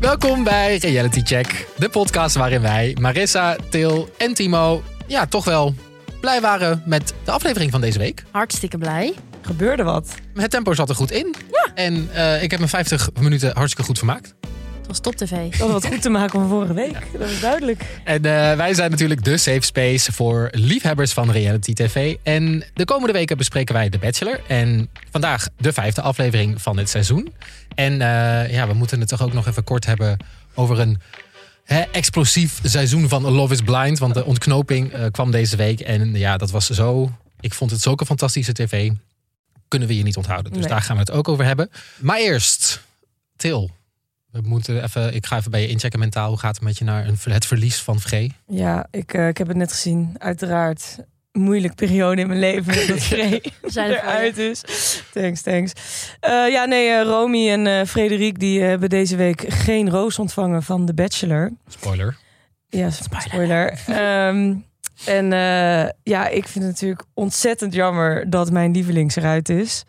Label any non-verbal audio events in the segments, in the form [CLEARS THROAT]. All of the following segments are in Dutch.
Welkom bij Reality Check, de podcast waarin wij, Marissa, Til en Timo, ja, toch wel blij waren met de aflevering van deze week. Hartstikke blij. Gebeurde wat? Het tempo zat er goed in. Ja. En eh, ik heb me 50 minuten hartstikke goed vermaakt. Het was top tv. We hadden wat goed te maken van vorige week. Dat is duidelijk. En eh, wij zijn natuurlijk de safe space voor liefhebbers van reality tv. En de komende weken bespreken wij The Bachelor. En vandaag de vijfde aflevering van dit seizoen. En eh, ja, we moeten het toch ook nog even kort hebben over een hè, explosief seizoen van Love is Blind. Want de ontknoping eh, kwam deze week. En ja, dat was zo... Ik vond het zulke fantastische tv. Kunnen we je niet onthouden. Dus Nee. daar gaan we het ook over hebben. Maar eerst, Til. We moeten even, ik ga even bij je inchecken mentaal. Hoe gaat het met je naar een, het verlies van Vree? Ja, ik, eh, ik heb het net gezien. Uiteraard. Moeilijk periode in mijn [LAUGHS] leven. Dat Free We zijn er voor je. eruit is. Thanks, thanks. Eh, ja, nee, eh, Romy en eh Frederik die eh, hebben deze week geen roos ontvangen van The Bachelor. Spoiler. Ja, spoiler. Ehm, en eh, ja, ik vind het natuurlijk ontzettend jammer dat mijn lievelings eruit is.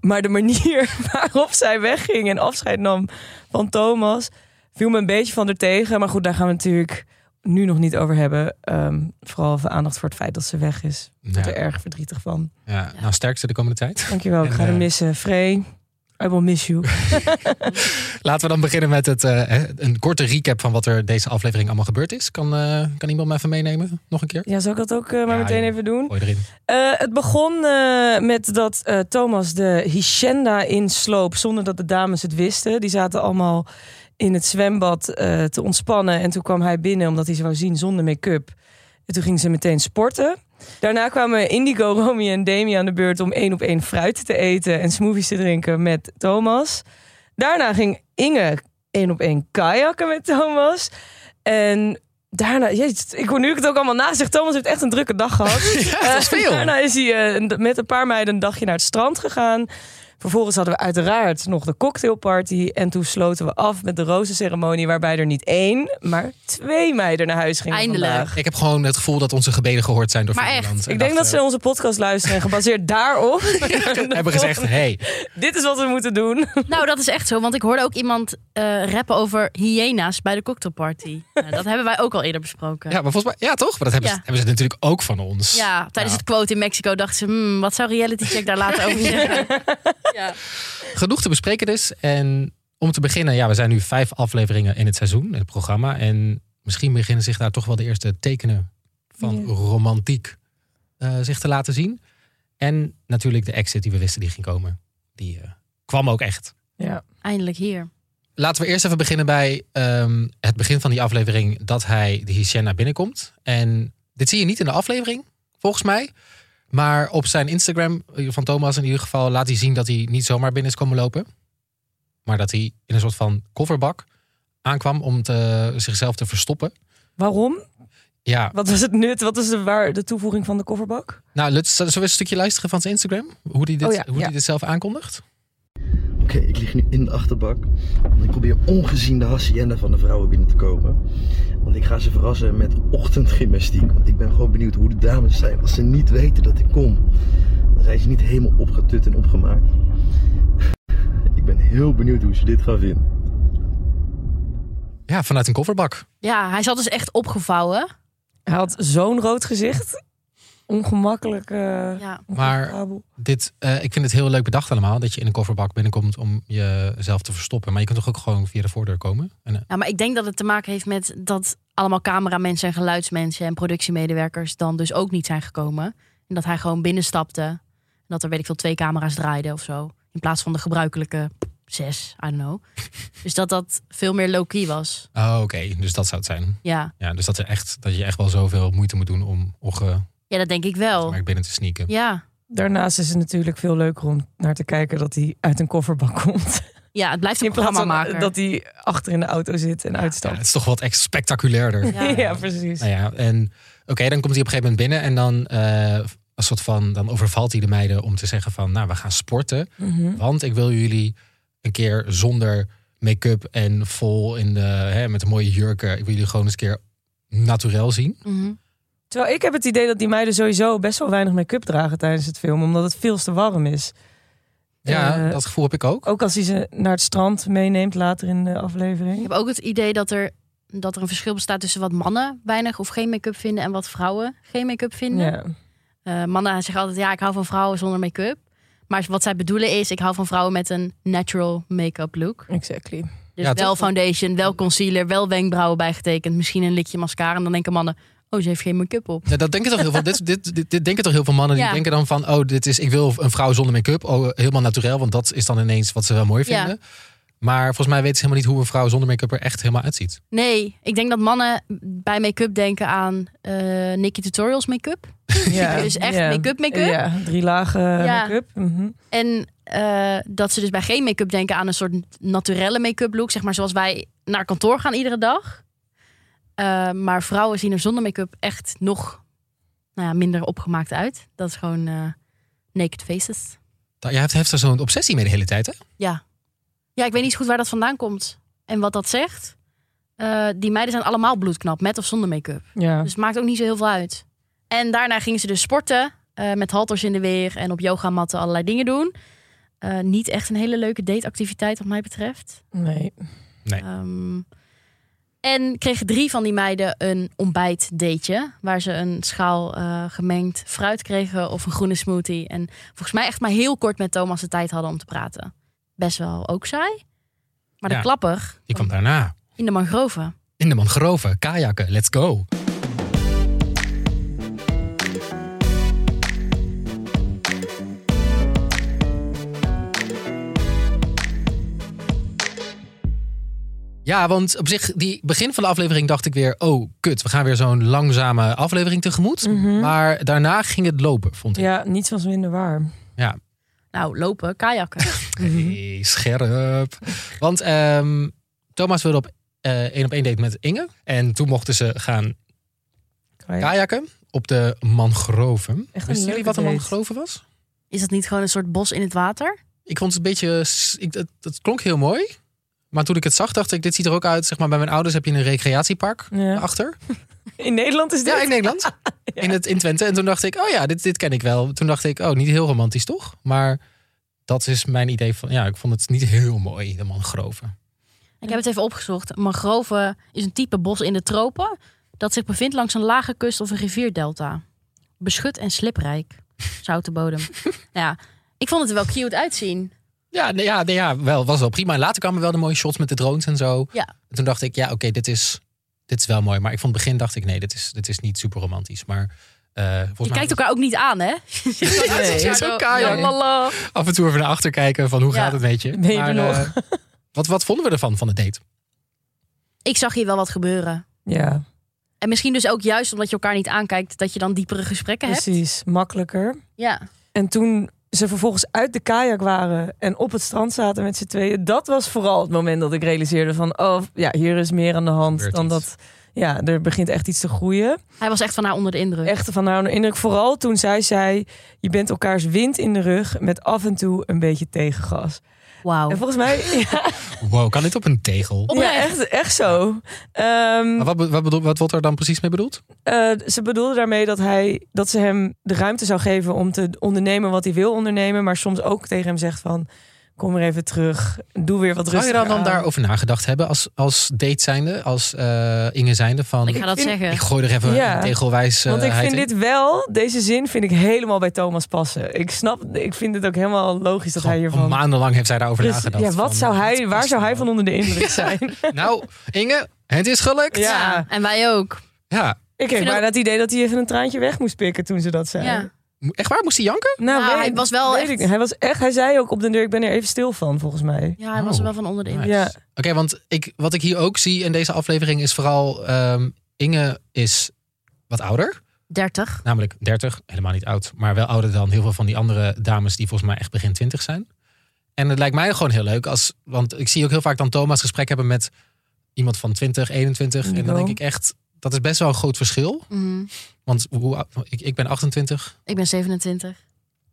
Maar de manier [LAUGHS] waarop zij wegging en afscheid nam van Thomas... viel me een beetje van er tegen. Maar goed, daar gaan we natuurlijk nu nog niet over hebben. Ehm, vooral even aandacht voor het feit dat ze weg is. Ik Ja, word er erg verdrietig van. ja. Nou, sterkste de komende tijd. Dankjewel, ik En, ga hem eh, missen. Frey, I will miss you. Laten we dan beginnen met het, eh, hè, een korte recap van wat er deze aflevering allemaal gebeurd is. Kan, eh, kan iemand me even meenemen? Nog een keer? Ja, zal ik dat ook eh, maar Ja, meteen joh. even doen? Gooi erin. Eh, het begon eh, met dat eh, Thomas de Hichenda insloop zonder dat de dames het wisten. Die zaten allemaal in het zwembad eh, te ontspannen. En toen kwam hij binnen omdat hij ze wou zien zonder make-up. En toen gingen ze meteen sporten. Daarna kwamen Indigo, [LAUGHS] Romy en Demi aan de beurt om één op één fruit te eten en smoothies te drinken met Thomas. Daarna ging Inge één op één kajakken met Thomas. En daarna, jezus, ik hoor nu ik het ook allemaal na zeg, Thomas heeft echt een drukke dag gehad. [LAUGHS] Ja, dat is Eh, veel. daarna is hij eh, een- met een paar meiden een dagje naar het strand gegaan. Vervolgens hadden we uiteraard nog de cocktailparty. En toen sloten we af met de rozenceremonie. Waarbij er niet één, maar twee meiden naar huis gingen. Eindelijk. vandaag. Ik heb gewoon het gevoel dat onze gebeden gehoord zijn door Maar echt, Nederland. Ik denk dat ze onze podcast luisteren. En gebaseerd [LAUGHS] daarop eh, hebben gezegd, hey, Dit is wat we moeten doen. Nou, dat is echt zo, want ik hoorde ook iemand eh, rappen over hyena's bij de cocktailparty. Nou, dat hebben wij ook al eerder besproken. ja, maar volgens mij, ja toch? Maar dat hebben, ze, Ja. hebben ze natuurlijk ook van ons. Nou. Ja, tijdens Ja. het quote in Mexico dachten ze, hmm, wat zou Reality Check daar later over zeggen? Ja. genoeg te bespreken dus. En om te beginnen, ja, we zijn nu vijf afleveringen in het seizoen, in het programma. En misschien beginnen zich daar toch wel de eerste tekenen van Ja. romantiek eh, zich te laten zien. En natuurlijk de exit die we wisten die ging komen. Die eh, kwam ook echt. Ja. Eindelijk hier. Laten we eerst even beginnen bij ehm, het begin van die aflevering dat hij de Hygiena binnenkomt. En dit zie je niet in de aflevering, volgens mij. Maar op zijn Instagram eh, van Thomas in ieder geval laat hij zien dat hij niet zomaar binnen is komen lopen. Maar dat hij in een soort van kofferbak aankwam om te, zichzelf te verstoppen. Waarom? Ja, Wat was het nut? Wat is de, waar, de toevoeging van de kofferbak? nou, let- zullen we een stukje luisteren van zijn Instagram? Hoe hij dit, Oh ja, hoe ja. hij dit zelf aankondigt? Oké, ik lig nu in de achterbak. Want ik probeer ongezien de hacienda van de vrouwen binnen te komen. Want ik ga ze verrassen met ochtendgymnastiek. Want ik ben gewoon benieuwd hoe de dames zijn als ze niet weten dat ik kom. Dan zijn ze niet helemaal opgetut en opgemaakt. ik ben heel benieuwd hoe ze dit gaan vinden. Ja, vanuit een kofferbak. Ja, hij zat dus echt opgevouwen. Hij had zo'n rood gezicht. Ongemakkelijk. eh, Ja. Maar comfortabel. Dit, eh, ik vind het heel leuk bedacht allemaal dat je in een kofferbak binnenkomt om jezelf te verstoppen. Maar je kunt toch ook gewoon via de voordeur komen? En, eh, ja, Nou, maar ik denk dat het te maken heeft met dat allemaal cameramensen en geluidsmensen en productiemedewerkers dan dus ook niet zijn gekomen. En dat hij gewoon binnenstapte. En dat er, weet ik veel, twee camera's draaiden of zo. In plaats van de gebruikelijke zes, I [LAUGHS] don't know. Dus dat dat veel meer low-key was. oh, oké, dus dat zou het zijn. Ja. Ja, dus dat, er echt, dat je echt wel zoveel moeite moet doen om onge ja, dat denk ik wel. maar binnen te sneaken. Ja. Daarnaast is het natuurlijk veel leuker om naar te kijken dat hij uit een kofferbak komt. ja, het blijft een In plaats programma van eh, maken. dat hij achter in de auto zit en Ja, uitstapt. het is toch wat echt spectaculairder. Ja. [LAUGHS] Ja, precies. Nou ja, en oké, dan komt hij op een gegeven moment binnen en dan, eh, een soort van, dan overvalt hij de meiden om te zeggen van, nou, we gaan sporten. Mhm. Want ik wil jullie een keer zonder make-up en vol in de, hè, met de mooie jurken. Ik wil jullie gewoon eens een keer naturel zien. Mhm. Terwijl ik heb het idee dat die meiden sowieso best wel weinig make-up dragen tijdens het filmen, omdat het veel te warm is. Ja, Eh, dat gevoel heb ik oh. ook. Ook als hij ze naar het strand meeneemt later in de aflevering. Ik heb ook het idee dat er, dat er een verschil bestaat tussen wat mannen weinig of geen make-up vinden en wat vrouwen geen make-up vinden. Ja. Eh, mannen zeggen altijd, ja, ik hou van vrouwen zonder make-up. Maar wat zij bedoelen is, ik hou van vrouwen met een natural make-up look. [LAUGHS] Exactly. Dus Ja, wel toch? foundation, wel concealer, wel wenkbrauwen bijgetekend. Misschien een likje mascara. En dan denken mannen, oh, ze heeft geen make-up op. Ja, dat denken toch heel veel. Dit, dit, dit, dit denken toch heel veel mannen. Die Ja. denken dan van, oh, dit is, ik wil een vrouw zonder make-up. Oh, helemaal naturel, want dat is dan ineens wat ze wel mooi Ja. vinden. Maar volgens mij weten ze helemaal niet hoe een vrouw zonder make-up er echt helemaal uitziet. Nee, ik denk dat mannen bij make-up denken aan eh Nikki Tutorials make-up. Ja. Dus echt Ja. make-up, make-up. Ja, drie lagen eh, Ja. make-up. Mhm. En eh, dat ze dus bij geen make-up denken aan een soort naturelle make-up look. Zeg maar zoals wij naar kantoor gaan iedere dag. Eh, maar vrouwen zien er zonder make-up echt nog nou ja, minder opgemaakt uit. Dat is gewoon eh, naked faces. Jij hebt, heeft daar zo'n obsessie mee de hele tijd, hè? Ja. Ja, ik weet niet zo goed waar dat vandaan komt. En wat dat zegt. Eh, die meiden zijn allemaal bloedknap, met of zonder make-up. Ja. Dus het maakt ook niet zo heel veel uit. En daarna gingen ze dus sporten. eh, met halters in de weer en op yogamatten allerlei dingen doen. Eh, niet echt een hele leuke dateactiviteit wat mij betreft. Nee. Ehm, en kregen drie van die meiden een ontbijtdateje. Waar ze een schaal eh, gemengd fruit kregen of een groene smoothie. En volgens mij echt maar heel kort met Thomas de tijd hadden om te praten. Best wel ook saai. Maar de Ja. klapper Die kwam daarna. in de mangroven. In de mangroven, kajakken, let's go. Ja, want op zich, die begin van de aflevering dacht ik weer... oh, kut, we gaan weer zo'n langzame aflevering tegemoet. Mhm. Maar daarna ging het lopen, vond ik. Mhm. Ja, niets was minder waar. Nou, [LAUGHS] lopen, kajakken. Hey, scherp. Want ehm, Thomas wilde op eh, één op één date met Inge. En toen mochten ze gaan kajakken op de mangroven. Echt een Wisten jullie leuke wat een date. mangrove was? Is dat niet gewoon een soort bos in het water? Ik vond het een beetje... s- Ik, het, het klonk heel mooi. Maar toen ik het zag, dacht ik, dit ziet er ook uit. Zeg maar, bij mijn ouders heb je een recreatiepark Ja. achter. In Nederland is dit? Ja, in [LAUGHS] Nederland. In, het, in Twente. En toen dacht ik, oh ja, dit, dit ken ik wel. Toen dacht ik, oh, niet heel romantisch toch? Maar dat is mijn idee van... Ja, ik vond het niet heel mooi, de mangroven. Ik heb het even opgezocht. Mangrove is een type bos in de tropen dat zich bevindt langs een lage kust of een rivierdelta. Beschut en sliprijk. Zoute bodem. Nou ja, ik vond het er wel cute uitzien. Ja, nee, ja, nee, ja wel, was wel prima. En later kwamen wel de mooie shots met de drones en zo. Ja. En toen dacht ik, ja, oké, dit, is, dit is wel mooi. Maar ik vond het begin, dacht ik, nee, dit is, dit is niet super romantisch. Maar eh volgens Je mij kijkt elkaar ook niet aan, hè? [LAUGHS] Nee. is ook kajakken. Lalala. af en toe even naar achter kijken van hoe Ja. gaat het met je. Ben je er nog? eh, wat, wat vonden we ervan, van de date? Ik zag hier wel wat gebeuren. Ja, En misschien dus ook juist omdat je elkaar niet aankijkt, dat je dan diepere gesprekken hebt. precies. Makkelijker. Ja. En toen ze vervolgens uit de kajak waren en op het strand zaten met z'n tweeën, dat was vooral het moment dat ik realiseerde van, oh ja, hier is meer aan de hand Gebeurt dan iets. dat. Ja, er begint echt iets te groeien. Hij was echt van haar onder de indruk. Echt van haar onder indruk. Vooral toen zij zei, je bent elkaars wind in de rug met af en toe een beetje tegengas. Wauw. En volgens mij, [LAUGHS] ja, Wow, kan dit op een tegel? ja, Oprecht. echt, echt zo. Ehm, Maar wat, be- wat, bedoel, wat wordt er dan precies mee bedoeld? Eh, ze bedoelde daarmee dat, hij, dat ze hem de ruimte zou geven om te ondernemen wat hij wil ondernemen. Maar soms ook tegen hem zegt van, kom maar even terug. Doe weer wat Zou je rustiger daar dan aan. daarover nagedacht hebben als, als date zijnde, als eh, Inge zijnde? Van, Ik ga dat vind- zeggen. ik gooi er even Ja. een tegelwijs Want ik eh, vind in. dit wel, deze zin vind ik helemaal bij Thomas passen. Ik snap, ik vind het ook helemaal logisch dat hij Gewoon hiervan... Maandenlang heeft zij daarover Precies. nagedacht. ja, wat Van, zou hij, wat waar past zou hij nou? van onder de indruk zijn? Nou, Inge, het is gelukt. Ja. Ja, En wij ook. Ja. [LAUGHS] ik kreeg vind bijna ook- het idee dat hij even een traantje weg moest pikken toen ze dat zei. Ja. Echt waar? Moest hij janken? Nou, Nou, hij was wel weet echt- ik niet. hij was echt, hij zei ook op de deur, ik ben er even stil van, volgens mij. ja, hij was er wel van onder de indruk. Nice. Ja. Oké, want ik, wat ik hier ook zie in deze aflevering is vooral... ehm, Inge is wat ouder. 30. Namelijk 30. Helemaal niet oud. Maar wel ouder dan heel veel van die andere dames... die volgens mij echt begin 20 zijn. En het lijkt mij gewoon heel leuk. Als, want ik zie ook heel vaak dan Thomas gesprek hebben met... iemand van 20, 21. En dan Nico. denk ik echt... dat is best wel een groot verschil. Mhm. Want hoe, oud- ik, ik ben 28. Ik ben 27.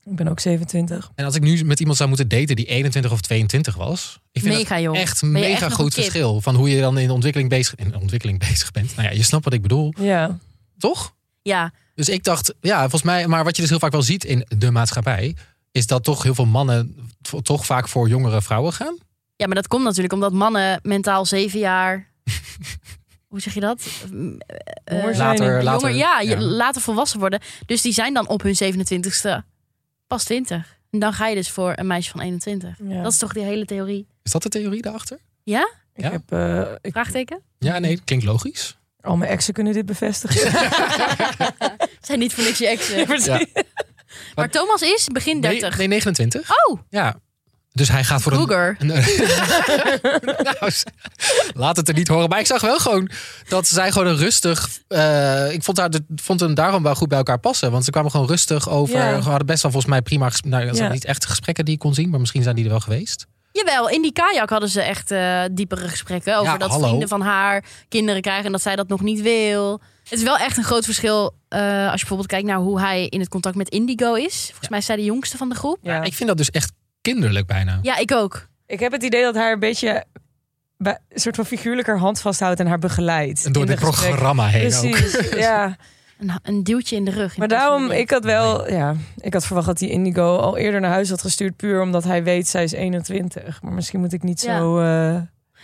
Ik ben ook 27. En als ik nu met iemand zou moeten daten die 21 of 22 was. Ik vind Mega jong. dat echt je mega echt nog een goed kid? verschil. Van hoe je dan in de ontwikkeling bezig, in de ontwikkeling [LAUGHS] bezig bent. Nou ja, je snapt wat ik bedoel, Ja. toch? Ja, Dus ik dacht, ja, volgens mij. Maar wat je dus heel vaak wel ziet in de maatschappij. Is dat toch heel veel mannen vo- toch vaak voor jongere vrouwen gaan? Ja, maar dat komt natuurlijk omdat mannen mentaal zeven [LAUGHS] jaar. hoe zeg je dat? Mm, eh, Hoor zijn. Later, Jonger, later. jonger, ja, je- later volwassen worden. Dus die zijn dan op hun 27ste pas 20. En dan ga je dus voor een meisje van 21. Ja. Dat is toch die hele theorie? Is dat de theorie daarachter? Ik Ja. heb eh, ik- Vraagteken? Ja, nee, klinkt logisch. al mijn exen kunnen dit bevestigen. [LAUGHS] Zijn niet voor niks je exen. Ja. [LAUGHS] Maar Thomas is begin Nee, 30. nee, 29. Oh, Ja. Dus hij gaat voor een... Kroeger. nou, s- laat het er niet horen. Maar ik zag wel gewoon dat zij gewoon een rustig... eh, ik vond, haar, de- vond hem daarom wel goed bij elkaar passen. Want ze kwamen gewoon rustig over. Ja. Ze hadden best wel volgens mij prima... ges- Nou, dat zijn Ja. niet echt gesprekken die ik kon zien. Maar misschien zijn die er wel geweest. Jawel, in die kajak hadden ze echt eh, diepere gesprekken over Ja, dat hallo. vrienden van haar kinderen krijgen en dat zij dat nog niet wil. Het is wel echt een groot verschil eh, als je bijvoorbeeld kijkt naar hoe hij in het contact met Indigo is. Volgens mij is zij de jongste van de groep. Ja. Ik vind dat dus echt kinderlijk bijna. Ja, ik ook. Ik heb het idee dat haar een beetje bij, een soort van figuurlijker hand vasthoudt en haar begeleidt. En door in dit de gesprekken. programma heen ook. [LAUGHS] Precies, ja. Een, een duwtje in de rug. in Maar plaats van daarom, een ik had wel, ja, ik had verwacht dat die Indigo al eerder naar huis had gestuurd, puur omdat hij weet zij is 21. Maar misschien moet ik niet Ja. zo. eh,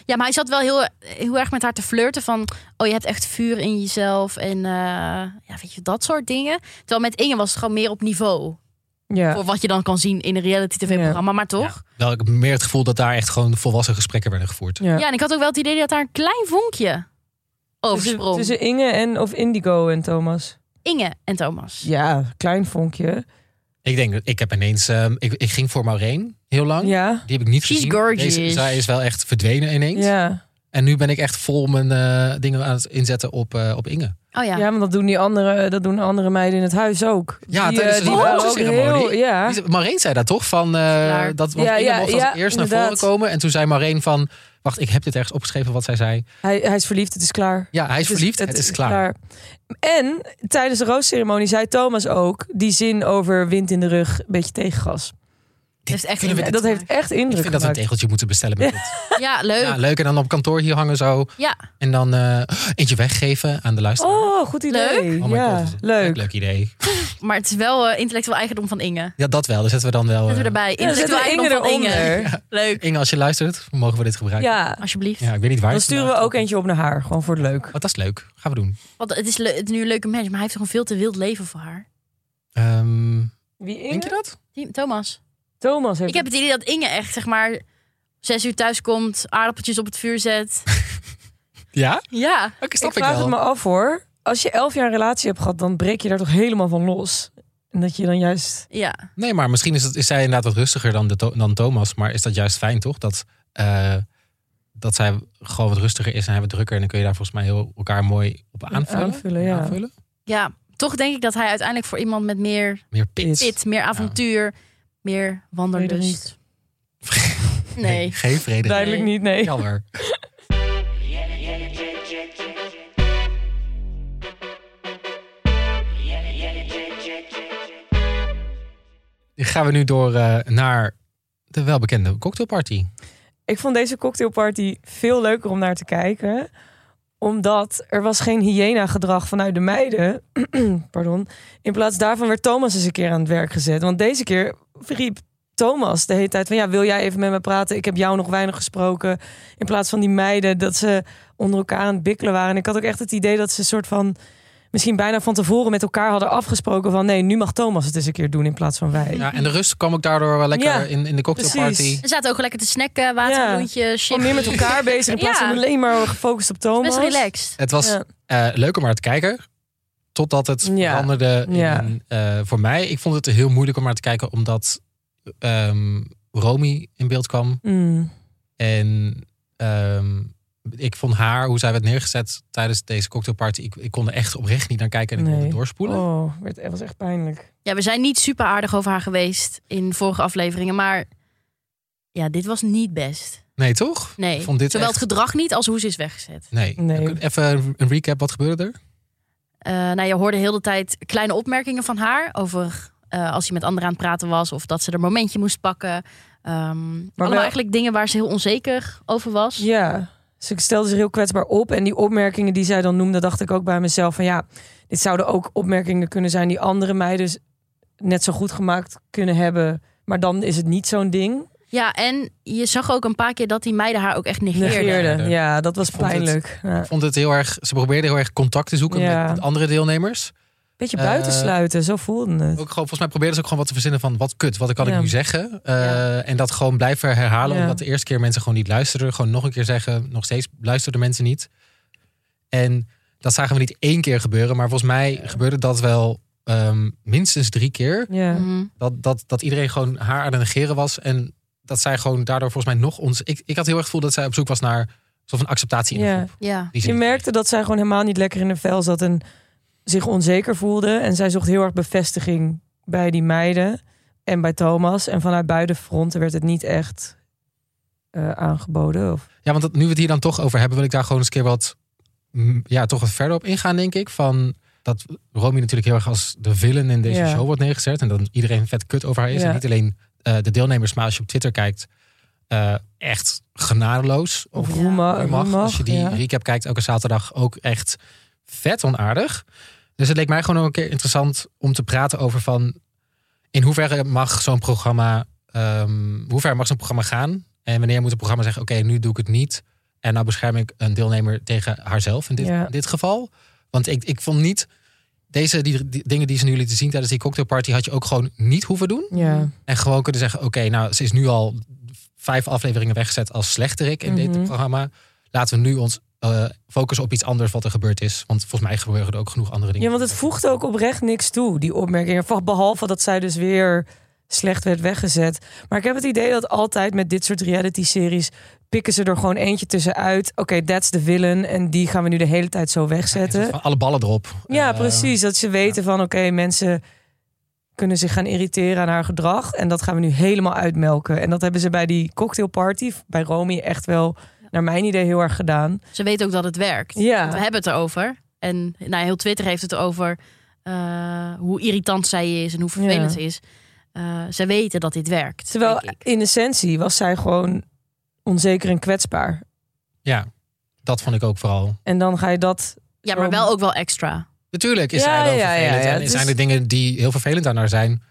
Ja, maar hij zat wel heel, heel erg met haar te flirten van... oh, je hebt echt vuur in jezelf en eh, ja, weet je, dat soort dingen. Terwijl met Inge was het gewoon meer op niveau. ja. Voor wat je dan kan zien in een reality tv-programma, maar toch? Wel, ik heb meer het gevoel dat daar echt gewoon volwassen gesprekken werden gevoerd. Ja. ja. en ik had ook wel het idee dat daar een klein vonkje Tussen, oversprong. tussen Inge en of Indigo en Thomas. Inge en Thomas. Ja, klein vonkje. Ik denk, ik heb ineens... ehm, ik, ik ging voor Maureen heel lang. Ja. Die heb ik niet She's gezien. gorgeous. Deze- zij is wel echt verdwenen ineens. Ja. En nu ben ik echt vol mijn eh, dingen aan het inzetten op, eh, op Inge. Oh ja. ja, maar dat doen die andere, dat doen andere meiden in het huis ook. Ja, die, tijdens eh, de die waren ook diagnoseceremonie. heel, ja. Die- Maureen zei dat toch? Van, eh, Klaar. dat, want Ja, Inge ja, mocht als ja, eerst naar inderdaad. voren komen. En toen zei Maureen van... Wacht, ik heb dit ergens opgeschreven wat zij zei. Hij, hij is verliefd, het is klaar. Ja, hij is Dus verliefd. Het, is klaar. En tijdens de roosceremonie zei Thomas ook die zin over wind in de rug, een beetje tegengas. Dat heeft echt vinden we indruk dat heeft gemaakt. echt Ik indruk vind dat we een gemaakt. tegeltje moeten bestellen met dit. Ja, leuk. Ja, Ja, leuk. En dan op kantoor hier hangen zo. En dan eh, eentje weggeven aan de luisteraar. Oh, goed idee. Oh my ja, God, wat is het leuk. Leuk idee. maar het is wel eh, intellectueel eigendom van Inge. Ja, dat wel. Dus zetten we dan wel... Zetten we eh, erbij. Ja, zet Intellectueel er eigendom van Inge. eronder. Leuk. Inge, als je luistert, mogen we dit gebruiken? Ja, Alsjeblieft. Ja, ik weet niet waar. dan het sturen we vandaan ook komt. eentje op naar haar, gewoon voor het leuk. Want dat is leuk. Gaan we doen. Want het is, le- het is nu een leuke mens, maar hij heeft gewoon veel te wild leven voor haar. Ehm, Wie denk je dat? Die- Thomas. Thomas heeft. Ik heb het idee dat Inge echt, zeg maar, zes uur thuis komt, aardappeltjes op het vuur [LAUGHS] zet. Ja? ja. Oké, ik snap ik, vraag wel. het me af hoor. Als je elf jaar een relatie hebt gehad, dan breek je daar toch helemaal van los. En dat je dan juist. Ja. Nee, maar misschien is, het, is zij inderdaad wat rustiger dan, de, To- dan Thomas. Maar is dat juist fijn, toch? Dat, eh, dat zij gewoon wat rustiger is en hij wat drukker. En dan kun je daar volgens mij heel, elkaar mooi op aanvullen. aanvullen, ja. Aanvullen? Ja. Toch denk ik dat hij uiteindelijk voor iemand met meer Meer pit. pit, meer avontuur, meer wanderlust. [LAUGHS] Nee. Geen vrede. Duidelijk niet, nee. [LAUGHS] Jammer. Gaan we nu door eh, naar de welbekende cocktailparty. Ik vond deze cocktailparty veel leuker om naar te kijken. Omdat er was geen hyena-gedrag vanuit de meiden. [CLEARS THROAT] Pardon. In plaats daarvan werd Thomas eens een keer aan het werk gezet. Want deze keer riep Thomas de hele tijd van... ja, wil jij even met me praten? Ik heb jou nog weinig gesproken. In plaats van die meiden dat ze onder elkaar aan het bikkelen waren. En ik had ook echt het idee dat ze een soort van... misschien bijna van tevoren met elkaar hadden afgesproken van... nee, nu mag Thomas het eens een keer doen in plaats van wij. Ja, en de rust kwam ook daardoor wel lekker Ja, in, in de cocktailparty. precies. Ze zaten ook lekker te snacken, waterloentjes, Gewoon meer met elkaar bezig in plaats Ja. van alleen maar gefocust op Thomas. Best relaxed. Het was Ja. eh, leuk om naar te kijken. Totdat het Ja. veranderde in, Ja. eh, voor mij. Ik vond het heel moeilijk om naar te kijken. Omdat ehm, Romy in beeld kwam. Mm. En ehm, ik vond haar, hoe zij werd neergezet tijdens deze cocktailparty. Ik, ik kon er echt oprecht niet naar kijken. En ik Nee. wilde doorspoelen. Oh, werd, het was echt pijnlijk. Ja, we zijn niet super aardig over haar geweest in vorige afleveringen, maar ja, dit was niet best. Nee, toch? Nee, Ik vond dit zowel echt- het gedrag niet als hoe ze is weggezet. Nee. Nee. Even een recap. Wat gebeurde er? Eh, nou, je hoorde heel de tijd kleine opmerkingen van haar over eh, als hij met anderen aan het praten was of dat ze er een momentje moest pakken. Ehm allemaal wel- eigenlijk dingen waar ze heel onzeker over was. Ja, ze stelde zich heel kwetsbaar op. En die opmerkingen die zij dan noemde, dacht ik ook bij mezelf van ja, dit zouden ook opmerkingen kunnen zijn die andere meiden net zo goed gemaakt kunnen hebben. Maar dan is het niet zo'n ding. Ja, en je zag ook een paar keer dat die meiden haar ook echt negeerden. Negeerde. Eerder. Ja, dat was Ik vond het- pijnlijk. Ja. Ik vond het heel erg, ze probeerden heel erg contact te zoeken Ja. met de andere deelnemers. Beetje Eh, buitensluiten, zo voelde het. Ook gewoon, volgens mij probeerden ze ook gewoon wat te verzinnen van wat kut, wat kan Ja. ik nu zeggen? Eh, Ja. En dat gewoon blijven herhalen, Ja. omdat de eerste keer mensen gewoon niet luisterden. Gewoon nog een keer zeggen, nog steeds luisterden mensen niet. En dat zagen we niet één keer gebeuren, maar volgens mij gebeurde dat wel ehm, minstens drie keer. Ja. Mhm. Dat, dat, dat iedereen gewoon haar aan het negeren was en dat zij gewoon daardoor volgens mij nog ons... Ik, ik had heel erg het gevoel dat zij op zoek was naar een soort van acceptatie in de Ja. groep. Ja. Die ze Je niet merkte dat zij gewoon helemaal niet lekker in haar vel zat en zich onzeker voelde. En zij zocht heel erg bevestiging bij die meiden en bij Thomas. En vanuit beide fronten werd het niet echt eh, aangeboden. Of... Ja, want dat, nu we het hier dan toch over hebben, wil ik daar gewoon eens een keer wat, mm, ja, toch wat verder op ingaan, denk ik. Van dat Romy natuurlijk heel erg als de villain in deze Ja. show wordt neergezet. En dat iedereen vet kut over haar is. Ja. En niet alleen eh, de deelnemers, maar als je op Twitter kijkt, eh, echt genadeloos. Of Of Ja. hoe ma- mag, hoe mag, Als je die ja. recap kijkt, elke zaterdag ook echt vet onaardig. Dus het leek mij gewoon ook een keer interessant om te praten over van... in hoeverre mag zo'n programma, ehm hoe ver mag zo'n programma gaan? En wanneer moet een programma zeggen, oké, nu doe ik het niet. En nou bescherm ik een deelnemer tegen haarzelf in dit, Ja. in dit geval. Want ik, ik vond niet... Deze die, die dingen die ze nu lieten zien tijdens die cocktailparty... had je ook gewoon niet hoeven doen. Ja. En gewoon kunnen zeggen, oké, nou, ze is nu al vijf afleveringen weggezet als slechterik in Mhm. dit programma. Laten we nu ons eh, focussen op iets anders wat er gebeurd is. Want volgens mij gebeuren er ook genoeg andere dingen. ja, want het voegde ook oprecht niks toe, die opmerkingen. Va- Behalve dat zij dus weer slecht werd weggezet. Maar ik heb het idee dat altijd met dit soort reality-series... pikken ze er gewoon eentje tussenuit. Oké, that's the villain. En die gaan we nu de hele tijd zo Een wegzetten. soort van alle ballen erop. Ja, Eh, precies. Dat ze weten van oké, mensen kunnen zich gaan irriteren aan haar gedrag. En dat gaan we nu helemaal uitmelken. En dat hebben ze bij die cocktailparty, bij Romy, echt wel naar mijn idee heel erg gedaan. Ze weten ook dat het werkt. Ja. Want We hebben het erover. En nou, heel Twitter heeft het erover eh, hoe irritant zij is en hoe vervelend Ja. ze is. Eh, ze weten dat dit werkt. Terwijl denk ik. in essentie was zij gewoon onzeker en kwetsbaar. Ja, dat vond ik ook vooral. En dan ga je dat... Ja, maar wel ook wel extra. Natuurlijk is Ja, zij wel ja, ja, vervelend. ja, en het zijn is- er dingen die heel vervelend aan haar zijn.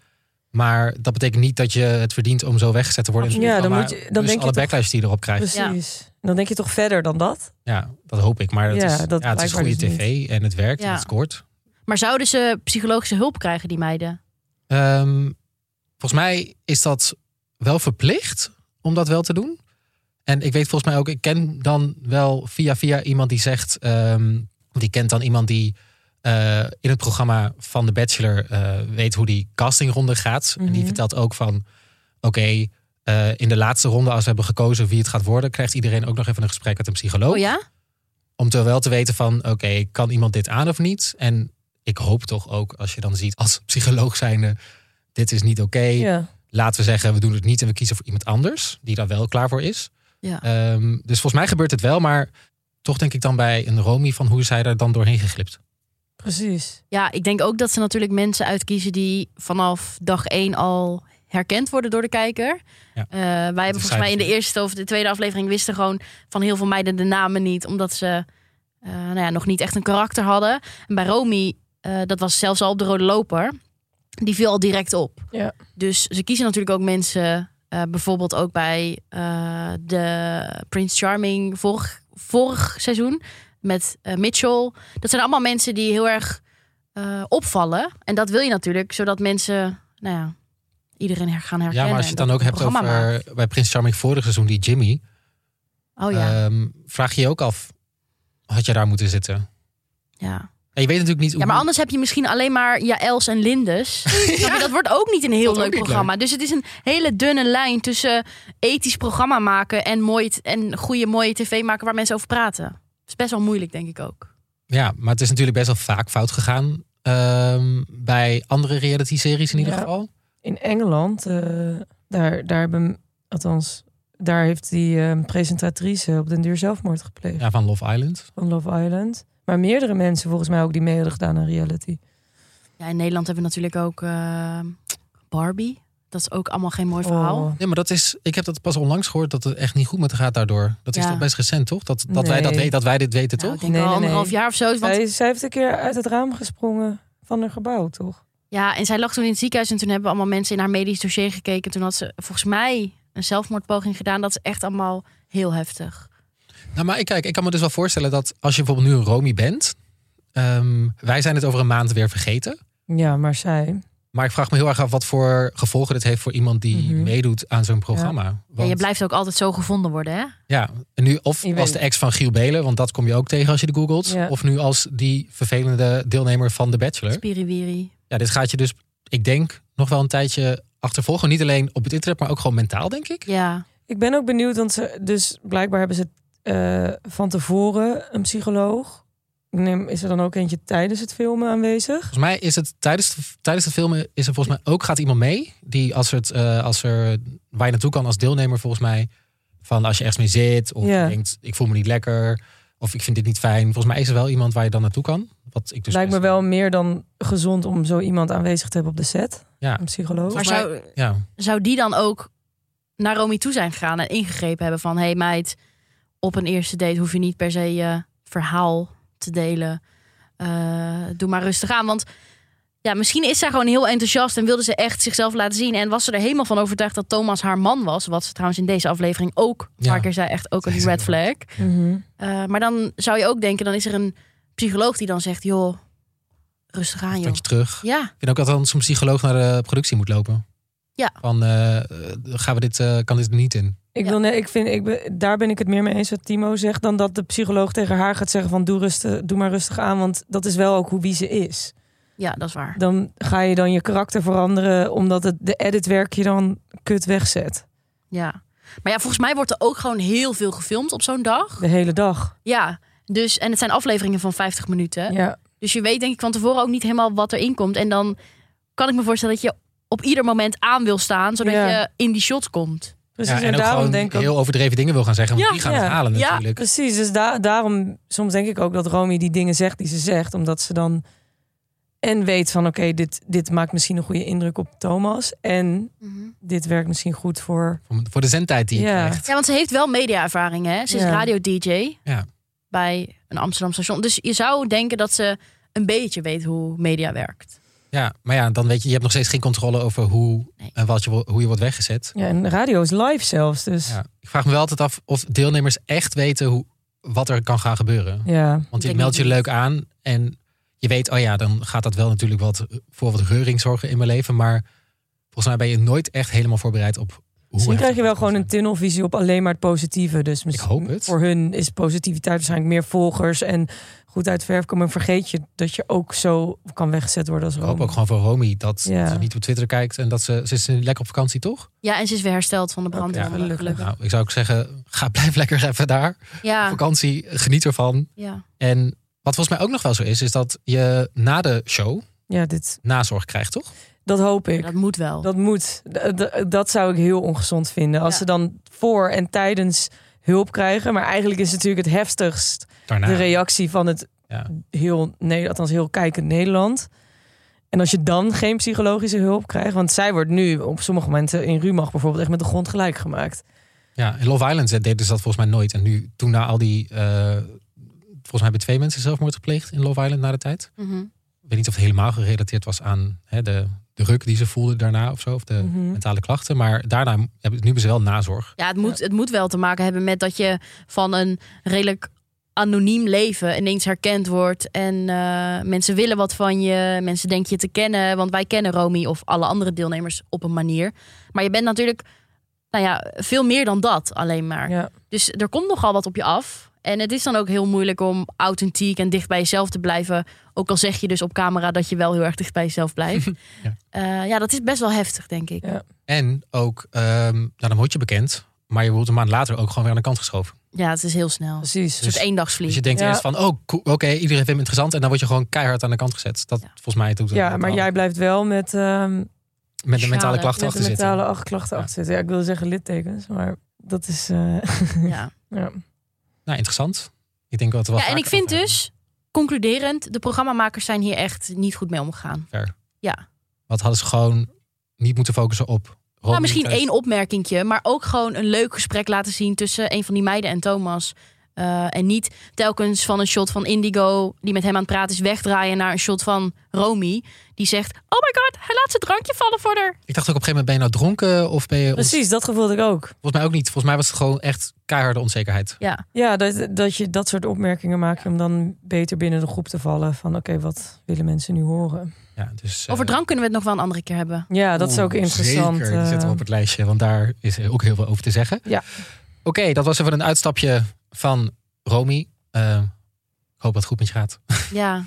Maar dat betekent niet dat je het verdient om zo weggezet te worden. in het Ja, dan programma. moet je- dan dus denk je alle toch- backlash die je erop krijgt. Precies. En Dan denk je toch verder dan dat? Ja, dat hoop ik. Maar dat Ja, is, dat ja, het is blijkbaar goede dus tv en het werkt en Ja. het scoort. Maar zouden ze psychologische hulp krijgen, die meiden? Ehm, volgens mij is dat wel verplicht om dat wel te doen. En ik weet volgens mij ook, ik ken dan wel via via iemand die zegt, ehm, die kent dan iemand die eh, in het programma van The Bachelor eh, weet hoe die castingronde gaat. En die Mhm. vertelt ook van, oké, eh, in de laatste ronde als we hebben gekozen wie het gaat worden, krijgt iedereen ook nog even een gesprek met een psycholoog. Oh ja? Om te wel te weten van, oké, kan iemand dit aan of niet? En ik hoop toch ook, als je dan ziet als psycholoog zijnde, dit is niet oké. Ja. Laten we zeggen, we doen het niet en we kiezen voor iemand anders die daar wel klaar voor is. Ja. Ehm, dus volgens mij gebeurt het wel, maar toch denk ik dan bij een Romy van hoe is hij er dan doorheen geglipt? Precies. Ja, ik denk ook dat ze natuurlijk mensen uitkiezen die vanaf dag één al herkend worden door de kijker. Ja. Eh, wij hebben volgens mij in de cijfers. eerste of de tweede aflevering wisten gewoon van heel veel meiden de namen niet, omdat ze eh, nou ja, nog niet echt een karakter hadden. En bij Romy, eh, dat was zelfs al op de rode loper, die viel al direct op. Ja. Dus ze kiezen natuurlijk ook mensen, eh, bijvoorbeeld ook bij eh, de Prince Charming vorig, vorig seizoen met eh, Mitchell. Dat zijn allemaal mensen die heel erg eh, opvallen. En dat wil je natuurlijk, zodat mensen, nou ja, iedereen her- gaan herkennen. Ja, maar als je het en dan ook dat hebt een over programma bij Prins Charming vorig seizoen, die Jimmy. maakt. Oh ja, ehm, vraag je je ook af, had je daar moeten zitten? ja. En je weet natuurlijk niet hoe... Ja, maar anders heb je misschien alleen maar Jaëls en Lindes. [LAUGHS] Snap [LAUGHS] je? Dat wordt ook niet een heel wordt ook leuk niet programma. Dus het is een hele dunne lijn tussen ethisch programma maken en, mooi t- en goede mooie tv maken waar mensen over praten. Dat is best wel moeilijk, denk ik ook. Ja, maar het is natuurlijk best wel vaak fout gegaan. ehm, bij andere reality-series in ieder Ja. geval. In Engeland, eh, daar, daar hebben... Althans, daar heeft die eh, presentatrice op den duur zelfmoord gepleegd. Ja, van Love Island. van Love Island. Maar meerdere mensen volgens mij ook die mee hadden gedaan aan reality. Ja, in Nederland hebben we natuurlijk ook eh, Barbie. Dat is ook allemaal geen mooi verhaal. Nou, Oh. Nee, maar dat is. Ik heb dat pas onlangs gehoord dat het echt niet goed met haar gaat daardoor. Dat is Ja. toch best recent, toch? Dat, dat, wij, dat, Nee. we- dat wij dit weten, Nou, toch? ik denk Nee, al nee, nee. anderhalf jaar of zo. Want, Zij, zij heeft een keer uit het raam gesprongen van een gebouw, toch? ja, en zij lag toen in het ziekenhuis. En toen hebben allemaal mensen in haar medisch dossier gekeken. Toen had ze volgens mij een zelfmoordpoging gedaan. Dat is echt allemaal heel heftig. Nou, maar ik, kijk, ik kan me dus wel voorstellen dat als je bijvoorbeeld nu een Romy bent. ehm, wij zijn het over een maand weer vergeten. Ja, maar zij. Maar ik vraag me heel erg af wat voor gevolgen dit heeft voor iemand die Mhm. meedoet aan zo'n programma. Ja. En je blijft ook altijd zo gevonden worden, hè? ja, en nu of Je weet als de ex van Giel Belen, want dat kom je ook tegen als je de googelt. Ja. Of nu als die vervelende deelnemer van The Bachelor. Spiriwiri. Ja, dit gaat je dus, ik denk, nog wel een tijdje achtervolgen. Niet alleen op het internet, maar ook gewoon mentaal, denk ik. Ja. Ik ben ook benieuwd, want ze, dus blijkbaar hebben ze eh, van tevoren een psycholoog. Ik Neem, is er dan ook eentje tijdens het filmen aanwezig? Volgens mij is het tijdens, tijdens het filmen is er volgens mij ook gaat iemand mee. Die als, het, eh, als er waar je naartoe kan als deelnemer volgens mij. Van als je ergens mee zit. Of Ja. je denkt ik voel me niet lekker. Of ik vind dit niet fijn. Volgens mij is er wel iemand waar je dan naartoe kan. Wat ik dus Lijkt me best- wel meer dan gezond om zo iemand aanwezig te hebben op de set. Ja. Een psycholoog. Maar Volgens zou, Ja. zou die dan ook naar Romy toe zijn gegaan en ingegrepen hebben van... hey meid, op een eerste date hoef je niet per se je verhaal te delen. Eh, doe maar rustig aan, want... Ja, misschien is zij gewoon heel enthousiast en wilde ze echt zichzelf laten zien. En was ze er helemaal van overtuigd dat Thomas haar man was. Wat ze trouwens in deze aflevering ook, een Ja. paar keer zei, echt ook Zei een ze red ook. flag. Mhm. Eh, maar dan zou je ook denken, dan is er een psycholoog die dan zegt... joh, rustig aan joh. Trek je terug. Ja, Ik vind ook dat dan zo'n psycholoog naar de productie moet lopen. Ja. Van eh, eh, gaan we dit, eh, kan dit er niet in? Ik Ja. wil net, ik vind, ik ben, daar ben ik het meer mee eens wat Timo zegt, dan dat de psycholoog tegen haar gaat zeggen van doe, rustig, doe maar rustig aan, want dat is wel ook hoe wie ze is. ja, dat is waar. Dan ga je dan je karakter veranderen, omdat het, de editwerk je dan kut wegzet. Ja. Maar ja, volgens mij wordt er ook gewoon heel veel gefilmd op zo'n dag. De hele dag. Ja. Dus, en het zijn afleveringen van 50 minuten. Ja. Dus je weet denk ik van tevoren ook niet helemaal wat erin komt. En dan kan ik me voorstellen dat je op ieder moment aan wil staan, zodat Ja. je in die shot komt. Precies, ja, en, en ook daarom gewoon denk ik... ook- heel overdreven dingen wil gaan zeggen. Want Ja, die gaan ja. het halen Ja, natuurlijk. Precies, dus da- daarom soms denk ik ook dat Romy die dingen zegt die ze zegt, omdat ze dan en weet van oké, dit, dit maakt misschien een goede indruk op Thomas en dit werkt misschien goed voor... Voor- Voor de zendtijd die je Ja. krijgt. Ja, want ze heeft wel media-ervaring, hè? Ze is Ja. radio-dj Ja. bij een Amsterdam station. Dus je zou denken dat ze een beetje weet hoe media werkt. Ja, maar ja, dan weet je, je hebt nog steeds geen controle over hoe Nee. en wat je, wo- hoe je wordt weggezet. Ja, en radio is live zelfs, dus... Ja. Ik vraag me wel altijd af of deelnemers echt weten hoe, wat er kan gaan gebeuren. Ja, Want je denk meldt het je niet. leuk aan en je weet, oh ja, dan gaat dat wel natuurlijk wat voor wat reuring zorgen in mijn leven. Maar volgens mij ben je nooit echt helemaal voorbereid op hoe. misschien Dus het krijg je wel gaat gewoon een zijn. tunnelvisie op alleen maar het positieve. Dus misschien hoop het. voor hun is positiviteit waarschijnlijk meer volgers en goed uit de verf komen. En vergeet je dat je ook zo kan weggezet worden als Ik hoop Rome. ook gewoon voor Romy dat Ja. ze niet op Twitter kijkt en dat ze, ze is lekker op vakantie, toch? Ja, en ze is weer hersteld van de brand. Oké, Ja, gelukkig. gelukkig. Nou, ik zou ook zeggen, ga [LAUGHS] blijf lekker even daar. Ja, Vakantie, geniet ervan. ja. En wat volgens mij ook nog wel zo is, is dat je na de show Ja, dit, nazorg krijgt, toch? dat hoop ik. dat moet wel. Dat moet. D- d- Dat zou ik heel ongezond vinden. Als Ja. ze dan voor en tijdens hulp krijgen. Maar eigenlijk is natuurlijk het heftigst Daarna. de reactie van het Nou. Ja. heel, nee, althans heel kijkend Nederland. En als je dan geen psychologische hulp krijgt. Want zij wordt nu op sommige momenten in Rumach bijvoorbeeld echt met de grond gelijk gemaakt. Ja, in Love Island deden ze dat volgens mij nooit. En nu, toen na al die... eh, volgens mij hebben twee mensen zelfmoord gepleegd in Love Island na de tijd. Mhm. Ik weet niet of het helemaal gerelateerd was aan hè, de, de ruk die ze voelden daarna of zo. Of de Mhm. mentale klachten. Maar daarna hebben, nu hebben ze wel nazorg. Ja, het moet, het moet wel te maken hebben met dat je van een redelijk anoniem leven ineens herkend wordt. En eh, mensen willen wat van je. Mensen denken je te kennen. Want wij kennen Romy of alle andere deelnemers op een manier. Maar je bent natuurlijk nou ja, veel meer dan dat alleen maar. Ja. Dus er komt nogal wat op je af. En het is dan ook heel moeilijk om authentiek en dicht bij jezelf te blijven. Ook al zeg je dus op camera dat je wel heel erg dicht bij jezelf blijft. Ja. Eh, ja dat is best wel heftig, denk ik. Ja. En ook, ehm, nou dan word je bekend. Maar je wordt een maand later ook gewoon weer aan de kant geschoven. Ja, het is heel snel. Een Precies. Dus- soort eendagsvlieg. Dus je denkt Ja. eerst van, oh, cool, oké, iedereen vindt me interessant. En dan word je gewoon keihard aan de kant gezet. Dat Ja. volgens mij doet het ja, met maar alle- jij blijft wel met, ehm, met de mentale Schade. klachten met achter de zitten. mentale acht klachten Ja. achter zitten. Ja, ik wil zeggen littekens, maar dat is... eh, [LAUGHS] Ja. ja. Nou, interessant. Ik denk dat we wel Ja, en ik vaker vind over hebben. dus, concluderend, de programmamakers zijn hier echt niet goed mee omgegaan. Wat hadden ze gewoon niet moeten focussen op Romy Nou, misschien thuis? één opmerkingje, maar ook gewoon een leuk gesprek laten zien tussen een van die meiden en Thomas. Eh, en niet telkens van een shot van Indigo, die met hem aan het praten is, wegdraaien naar een shot van Romy. Die zegt: Oh my god, hij laat zijn drankje vallen voor haar. Ik dacht ook op een gegeven moment, ben je nou dronken? Of ben je... ons- Precies, dat gevoel had ik ook. Volgens mij ook niet. Volgens mij was het gewoon echt keiharde onzekerheid. Ja, Ja, dat, dat je dat soort opmerkingen maakt om dan beter binnen de groep te vallen. Van oké, wat willen mensen nu horen? Ja, dus, over eh, drank kunnen we het nog wel een andere keer hebben. Ja, dat is Oeh, ook interessant. Zeker, die zetten we eh. op het lijstje, want daar is ook heel veel over te zeggen. Ja. Oké, dat was even een uitstapje van Romy. Eh, ik hoop dat het goed met je gaat. Ja,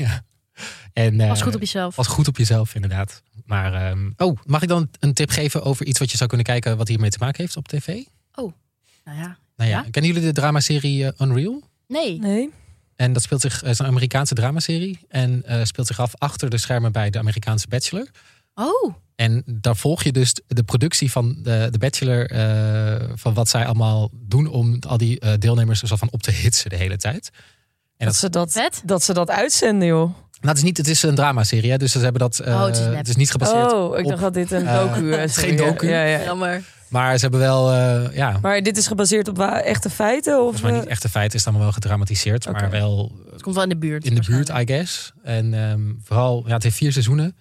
En, eh, pas goed op jezelf. Pas goed op jezelf, inderdaad. Maar, ehm, oh, mag ik dan een tip geven over iets wat je zou kunnen kijken wat hiermee te maken heeft op tv? Nou ja, Nou ja, Ja? kennen jullie de dramaserie eh, Unreal? nee. Nee? En dat speelt zich, eh, is een Amerikaanse dramaserie. En eh, speelt zich af achter de schermen bij de Amerikaanse Bachelor. Oh, En daar volg je dus de productie van de, de Bachelor. eh, van wat zij allemaal doen om al die eh, deelnemers er zo van op te hitsen de hele tijd. Dat, ze dat, vet. dat ze dat uitzenden, joh. Nou, het is, niet, het is een dramaserie, hè, dus ze hebben dat. eh, Oh, het is nep. niet gebaseerd. Oh, ik op- dacht dat dit een eh, docu het is. is [LAUGHS] geen docu. Ja, ja. Jammer. Maar ze hebben wel. eh, ja, Maar dit is gebaseerd op wa- echte feiten? Of, eh? volgens mij niet echte feiten, is het allemaal wel gedramatiseerd. Maar Oké. wel Het komt wel in de buurt. in de buurt, waarschijnlijk. I guess. En ehm, vooral, ja, het heeft vier seizoenen.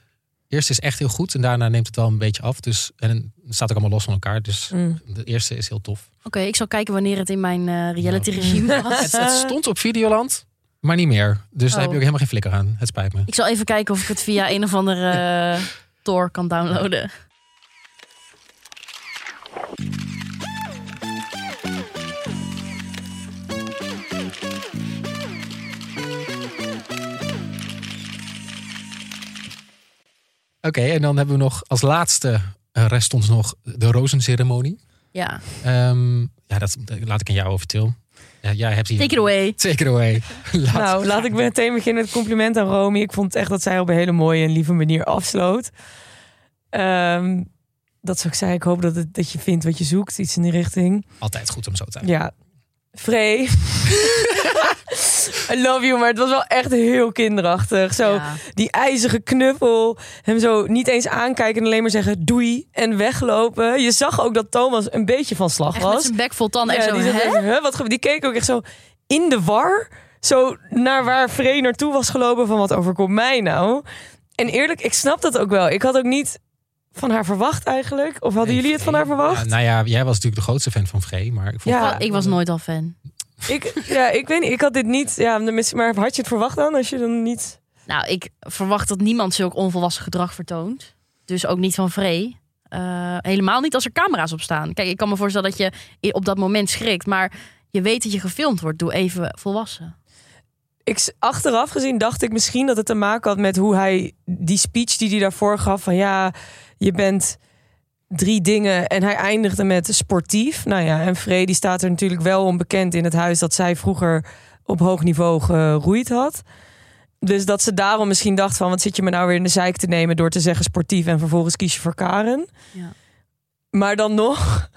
Eerst is echt heel goed en daarna neemt het wel een beetje af. Dus, en het staat ook allemaal los van elkaar. Dus Mm. de eerste is heel tof. Oké, ik zal kijken wanneer het in mijn eh, reality Nou. regime was. Het, het stond op Videoland, maar niet meer. Dus daar Oh. heb je ook helemaal geen flikker aan. Het spijt me. Ik zal even kijken of ik het via een of andere eh, Tor kan downloaden. Oké, en dan hebben we nog als laatste eh, rest ons nog de rozenceremonie. Ja, Ehm, ja, dat, dat laat ik aan jou over, Til. Ja, jij hebt hier... take it away. Take it away. Laat- Nou, laat ik meteen beginnen met compliment aan Romy. Ik vond echt dat zij op een hele mooie en lieve manier afsloot. Ehm, dat zou ik zeggen. Ik hoop dat, het, dat je vindt wat je zoekt. Iets in die richting. Altijd goed om zo te zijn. Ja. Free. [LAUGHS] I love you, maar het was wel echt heel kinderachtig. Zo, Ja. die ijzige knuffel. Hem zo niet eens aankijken en alleen maar zeggen doei en weglopen. Je zag ook dat Thomas een beetje van slag Echt met was. zijn bek vol tanden en Ja, zo. die, zat hè? echt, "Huh, wat, gebe- die keek ook echt zo in de war. Zo naar waar Free naartoe was gelopen van wat overkomt mij nou. En eerlijk, ik snap dat ook wel. Ik had ook niet van haar verwacht eigenlijk. Of hadden jullie het van haar verwacht? Ja, nou ja, jij was natuurlijk de grootste fan van Vree, maar ik vond... Ja. Ik was nooit al fan. Ik, ja, ik weet niet. Ik had dit niet. Ja, misschien- maar had je het verwacht dan? Als je dan niet. Nou, ik verwacht dat niemand zulk onvolwassen gedrag vertoont. Dus ook niet van Vree. Eh, helemaal niet als er camera's op staan. Kijk, ik kan me voorstellen dat je i- op dat moment schrikt. Maar je weet dat je gefilmd wordt. Doe even volwassen. Ik, s- achteraf gezien dacht ik misschien dat het te maken had met hoe hij die speech die hij daarvoor gaf. Van ja, je bent drie dingen. En hij eindigde met sportief. Nou ja, en Frey die staat er natuurlijk wel onbekend in het huis dat zij vroeger op hoog niveau geroeid had. Dus dat ze daarom misschien dacht van wat zit je me nou weer in de zeik te nemen door te zeggen sportief en vervolgens kies je voor Karen. Ja. Maar dan nog.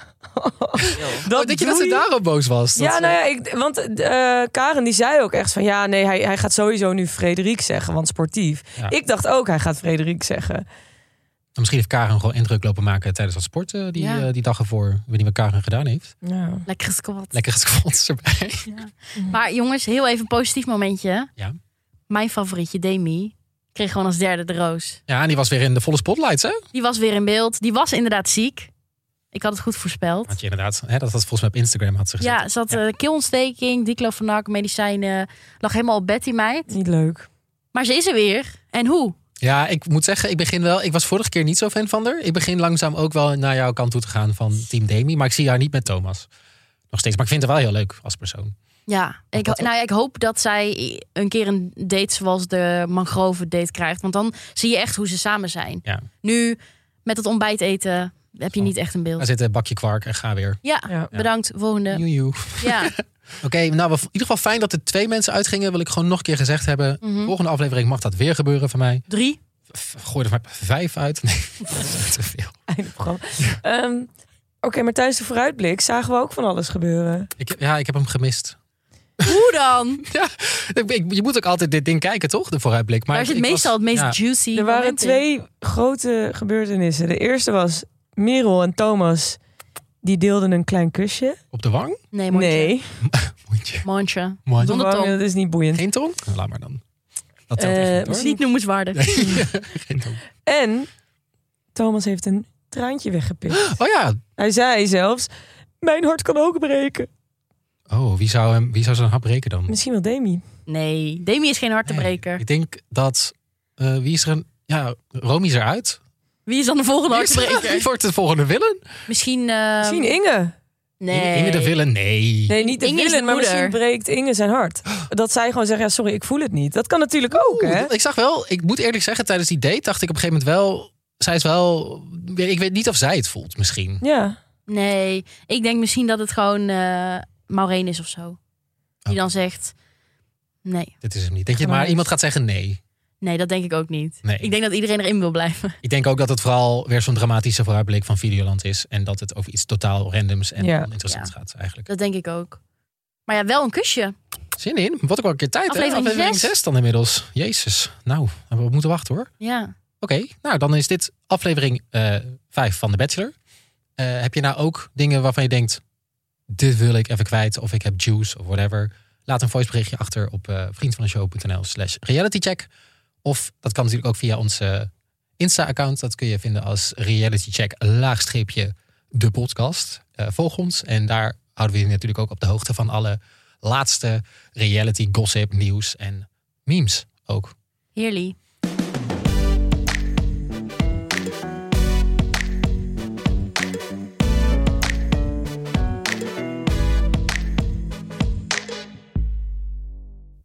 Oh, denk je dat doe ze daarop boos was? Dat ja, ze- nou ja, ik, want eh, Karen die zei ook echt van ja, nee, hij, hij gaat sowieso nu Frederik zeggen, want sportief. Ja. Ik dacht ook, hij gaat Frederik zeggen. Misschien heeft Karen gewoon indruk lopen maken tijdens dat sporten die, Ja. eh, die dag ervoor. Ik weet niet wat Karen gedaan heeft. Ja. Lekker gesquat. Lekker gesquats erbij. Maar jongens, heel even een positief momentje. Ja. Mijn favorietje, Demi, kreeg gewoon als derde de roos. Ja, en die was weer in de volle spotlights, hè? Die was weer in beeld. Die was inderdaad ziek. Ik had het goed voorspeld. Had je inderdaad, hè, dat had volgens mij op Instagram had ze gezet. Ja, ze had eh, keelontsteking, diclofenac, medicijnen. Lag helemaal op bed in mij. Niet leuk. Maar ze is er weer. En hoe? Ja, ik moet zeggen, ik begin wel. Ik was vorige keer niet zo fan van haar. Ik begin langzaam ook wel naar jouw kant toe te gaan van Team Demi. Maar ik zie haar niet met Thomas. Nog steeds. Maar ik vind haar wel heel leuk als persoon. Ja, ik, ho- Wat dan? nou ja, ik hoop dat zij een keer een date zoals de mangrove date krijgt. Want dan zie je echt hoe ze samen zijn. Ja. Nu, met het ontbijt eten, heb je Zo. niet echt een Daar beeld. zit een bakje kwark en ga weer. Ja, Ja. bedankt, volgende. Joejoe. [LAUGHS] Ja, Oké, nou, we- in ieder geval fijn dat er twee mensen uitgingen. Wil ik gewoon nog een keer gezegd hebben. Mhm. Volgende aflevering mag dat weer gebeuren van mij. drie. V- Gooi er maar vijf uit. [LAUGHS] Nee, dat is te veel. [LAUGHS] Einde programma. Ehm, Oké, maar tijdens de vooruitblik zagen we ook van alles gebeuren. Ik, heb- ja, ik heb hem gemist. Hoe dan? Ik- ik- je moet ook altijd dit ding kijken, toch? De vooruitblik. Maar Daar zit ik was- meestal het meest ja. juicy Er waren moment in. twee grote gebeurtenissen. De eerste was Merel en Thomas. Die deelden een klein kusje. Op de wang? Nee, mondje. Nee. Mondje. Mandje. Mandje. Mandje. Zonder tong. Dat is niet boeiend. Geen tong? Nou, Laat maar dan. Dat telt Eh, echt niet, hoor. Is niet noemenswaardig. [LAUGHS] Geen tong. En Thomas heeft een traantje [GASPS] weggepikt. Oh ja. Hij zei zelfs, mijn hart kan ook breken. Oh, wie zou, hem, wie zou zijn hap breken dan? Misschien wel Ehm, Demi. Nee, Demi is geen Nee, hartebreker. Ik denk dat... eh, wie is er een... Ja, Romy is eruit. Wie is dan de volgende Wie, is- wie hartebreker? [LAUGHS] wordt de volgende Willen? Misschien... eh, Misschien Inge. nee. Inge de Willen? Nee. Nee, niet de Inge is villain, de maar moeder. misschien breekt Inge zijn hart. Dat zij gewoon zegt, ja sorry, ik voel het niet. Dat kan natuurlijk ook, Oeh, hè? dat- Ik zag wel, ik moet eerlijk zeggen, tijdens die date dacht ik op een gegeven moment wel... Zij is wel... Ik weet niet of zij het voelt, misschien. Ja. Nee, ik denk misschien dat het gewoon eh Maureen is of zo. Die Oh. dan zegt... Nee, Dit is hem niet. Denk je, maar Geluid. iemand gaat zeggen nee. nee, dat denk ik ook niet. Nee. Ik denk dat iedereen erin wil blijven. Ik denk ook dat het vooral weer zo'n dramatische vooruitblik van Videoland is. En dat het over iets totaal randoms en Ja. oninteressants gaat eigenlijk. Dat denk ik ook. Maar ja, wel een kusje. Zin in. Wat ook wel een keer tijd. hè? Aflevering zes. dan inmiddels. Jezus. Nou, we moeten wachten hoor. Ja. Oké, nou dan is dit aflevering eh 5 van The Bachelor. Eh, heb je nou ook dingen waarvan je denkt... dit wil ik even kwijt of ik heb juice of whatever. Laat een voiceberichtje achter op eh vriendvandeshow.nl slash realitycheck. Of dat kan natuurlijk ook via onze Insta-account. Dat kun je vinden als realitycheck laagstreepje de podcast. Eh, volg ons en daar houden we je natuurlijk ook op de hoogte van alle laatste reality gossip, nieuws en memes ook. Heerly.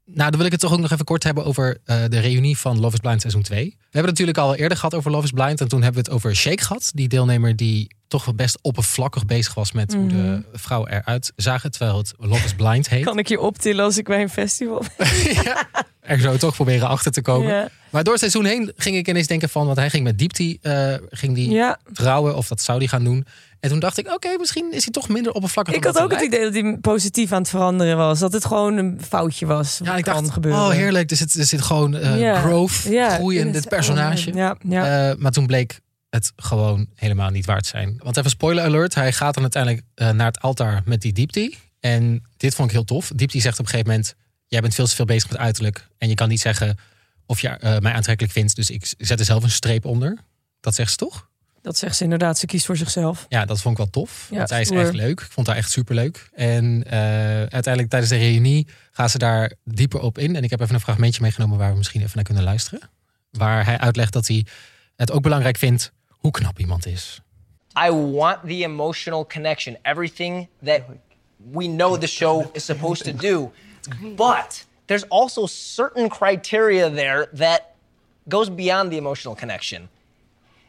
Nou, dan wil ik het toch ook nog even kort hebben over eh, de reunie van Love is Blind seizoen 2. We hebben het natuurlijk al eerder gehad over Love is Blind. En toen hebben we het over Shake gehad. Die deelnemer die toch wel best oppervlakkig bezig was met hoe Mhm. de vrouwen eruit zagen. Terwijl het Love is Blind heet. Kan ik je optillen als ik bij een festival ben? Ja. Er zo toch proberen achter te komen. Ja. Maar door het seizoen heen ging ik ineens denken van... Want hij ging met Diepti eh, ging die ja. trouwen of dat zou die gaan doen. En toen dacht ik, oké, misschien is hij toch minder oppervlakkig. Ik dan had ook dat het hij idee dat hij positief aan het veranderen was. Dat het gewoon een foutje was. lijkt. Ja, Wat ik kan dacht, gebeuren. oh heerlijk. Er zit, er zit gewoon eh, Ja. growth, Ja, groei in dit is- dit personage. Ja, ja. Eh, maar toen bleek het gewoon helemaal niet waard zijn. Want even spoiler alert, hij gaat dan uiteindelijk eh, naar het altaar met die Diepti. En dit vond ik heel tof. Diepti zegt op een gegeven moment, jij bent veel te veel bezig met uiterlijk. En je kan niet zeggen of je eh, mij aantrekkelijk vindt. Dus ik zet er zelf een streep onder. Dat zegt ze toch? dat zegt ze inderdaad. Ze kiest voor zichzelf. Ja, dat vond ik wel tof. Ja, want hij is stoer. echt leuk. Ik vond haar echt superleuk. En eh, uiteindelijk tijdens de reunie gaan ze daar dieper op in. En ik heb even een fragmentje meegenomen waar we misschien even naar kunnen luisteren. Waar hij uitlegt dat hij het ook belangrijk vindt hoe knap iemand is. I want the emotional connection, everything that we know the show is supposed to do. But there's also certain criteria there that goes beyond the emotional connection.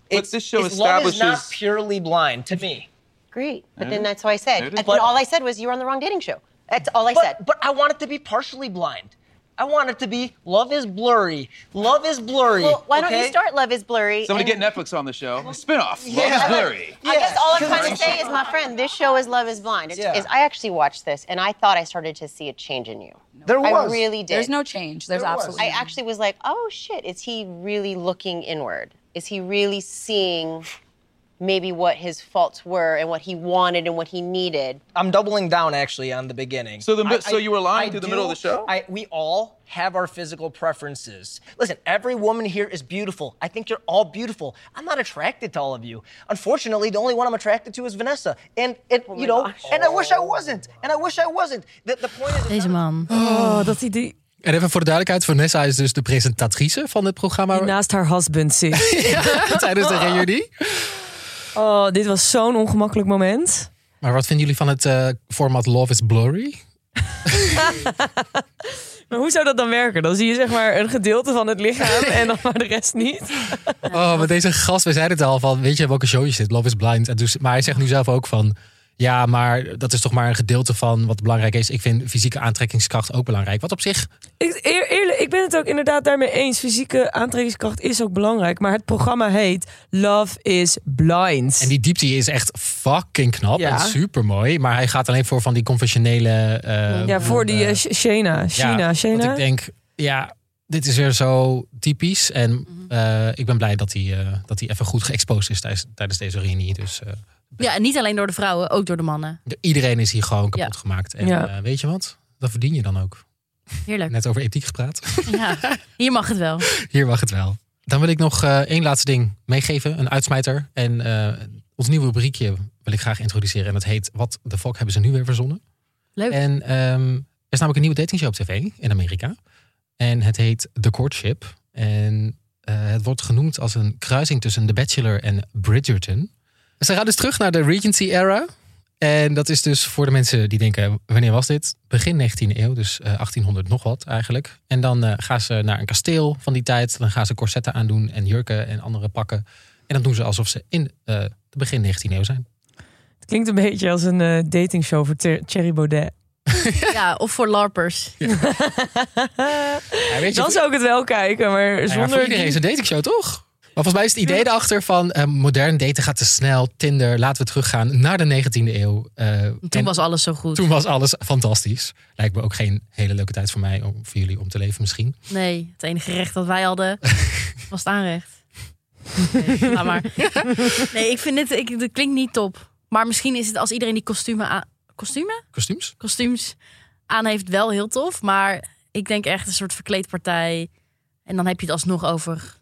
It's, this show it's love is not establishes- purely blind to me. Great. But then that's what I said. There it is. And But- all I said was you were on the wrong dating show. That's all I said. But, but I want it to be partially blind. I want it to be love is blurry. Love is blurry. well, why don't okay? you start Love is Blurry? Somebody and- get Netflix on the show. Spinoff. Love Yeah. is blurry. I guess all I'm Yeah. trying to say is, my friend, this show is Love is Blind. It's, Yeah. is I actually watched this and I thought I started to see a change in you. There I was. really did. There's no change. There's There was. absolutely. I actually was like, oh shit, is he really looking inward? Is he really seeing maybe what his faults were and what he wanted and what he needed? I'm doubling down actually on the beginning. So the mi- I- so I- you were lying I through the middle of the show? I, we all have our physical preferences. Listen, every woman here is beautiful. I think you're all beautiful. I'm not attracted to all of you. Unfortunately, the only one I'm attracted to is Vanessa. And it, you know, and I wish I wasn't. And I wish I wasn't. The, the point is, Deze man. Oh, dat hij die, En even voor de duidelijkheid, Vanessa is dus de presentatrice van dit programma die naast haar husband zit. [LAUGHS] tijdens de reunie. Oh, dit was zo'n ongemakkelijk moment. Maar wat vinden jullie van het eh, format Love is Blurry? Maar hoe zou dat dan werken? Dan zie je zeg maar een gedeelte van het [LAUGHS] lichaam en dan maar de rest niet. Oh, maar deze gast, we zeiden het al van, weet je welke show je zit? Love is Blind. En dus, maar hij zegt nu zelf ook van, ja, maar dat is toch maar een gedeelte van wat belangrijk is. Ik vind fysieke aantrekkingskracht ook belangrijk. Wat op zich, Ik, eer- eerlijk, ik ben het ook inderdaad daarmee eens. Fysieke aantrekkingskracht is ook belangrijk. Maar het programma heet Love is Blind. en die diepte is echt fucking knap Ja. en supermooi. Maar hij gaat alleen voor van die conventionele... eh, ja, voor die eh, eh, Sh- Shayna. China, ja, Shayna. Want ik denk, ja, dit is weer zo typisch. En Mhm. eh, ik ben blij dat hij, eh, dat hij even goed geëxposed is tijdens, tijdens deze reunie. Dus eh, Ja, en niet alleen door de vrouwen, ook door de mannen. iedereen is hier gewoon kapot Ja. gemaakt. En Ja. eh, weet je wat? Dat verdien je dan ook. [LAUGHS] Heerlijk. Net over ethiek gepraat. [LAUGHS] Ja. Hier mag het wel. Hier mag het wel. Dan wil ik nog eh, één laatste ding meegeven. Een uitsmijter. En eh, ons nieuwe rubriekje wil ik graag introduceren. En dat heet Wat de fuck hebben ze nu weer verzonnen? Leuk. [LAUGHS] En ehm, er is namelijk een nieuwe datingshow op tv in Amerika. En het heet The Courtship. En eh, het wordt genoemd als een kruising tussen The Bachelor en Bridgerton. Ze gaan dus terug naar de Regency era. En dat is dus voor de mensen die denken, wanneer was dit? Begin 19e eeuw, dus eh, 1800 nog wat eigenlijk. En dan eh, gaan ze naar een kasteel van die tijd. Dan gaan ze corsetten aandoen en jurken en andere pakken. En dan doen ze alsof ze in eh, de begin 19e eeuw zijn. Het klinkt een beetje als een eh, datingshow voor Ter- Thierry Baudet. Ja, of voor larpers. Ja, weet Dan zou ik het wel kijken, maar Nou ja, voor zonder... iedereen die- is een datingshow, toch? Maar volgens mij is het idee daarachter van eh, modern daten gaat te snel. Tinder, laten we teruggaan naar de 19e eeuw. Eh, Toen en was alles zo goed. toen was alles fantastisch. Lijkt me ook geen hele leuke tijd voor mij, om, voor jullie om te leven misschien. Nee, het enige recht dat wij hadden was het aanrecht. Nee, laat maar. nee ik vind dit, ik, dit klinkt niet top. Maar misschien is het als iedereen die kostumen aan, kostumen? Kostuums? kostuums aan heeft wel heel tof. Maar ik denk echt een soort verkleedpartij. En dan heb je het alsnog over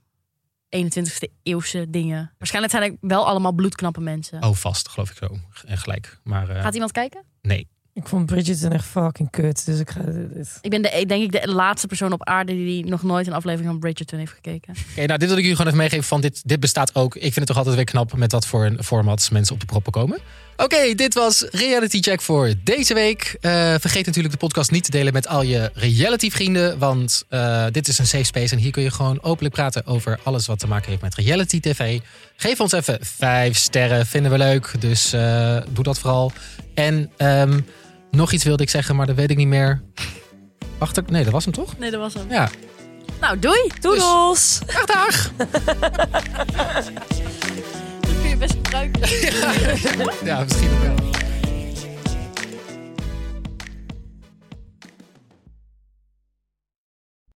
21ste eeuwse dingen. Waarschijnlijk zijn er wel allemaal bloedknappe mensen. Oh, vast, geloof ik zo. En gelijk. Maar eh, Gaat iemand kijken? nee. Ik vond Bridgerton echt fucking kut, dus ik ga... dit- Ik ben de, denk ik de laatste persoon op aarde die nog nooit een aflevering van Bridgerton heeft gekeken. Oké, nou, dit wil ik jullie gewoon even meegeven van dit, dit bestaat ook. Ik vind het toch altijd weer knap met wat voor een formats mensen op de proppen komen. Oké, dit was Reality Check voor deze week. Eh, vergeet natuurlijk de podcast niet te delen met al je reality vrienden. Want eh, dit is een safe space en hier kun je gewoon openlijk praten over alles wat te maken heeft met reality tv. Geef ons even vijf sterren, vinden we leuk. Dus eh, doe dat vooral. En ehm, nog iets wilde ik zeggen, maar dat weet ik niet meer. Wacht, ik- nee, dat was hem toch? Nee, dat was hem. Ja, Nou, doei! Doedels! dag dag! Dat kun je best gebruiken. Ja, misschien ook wel.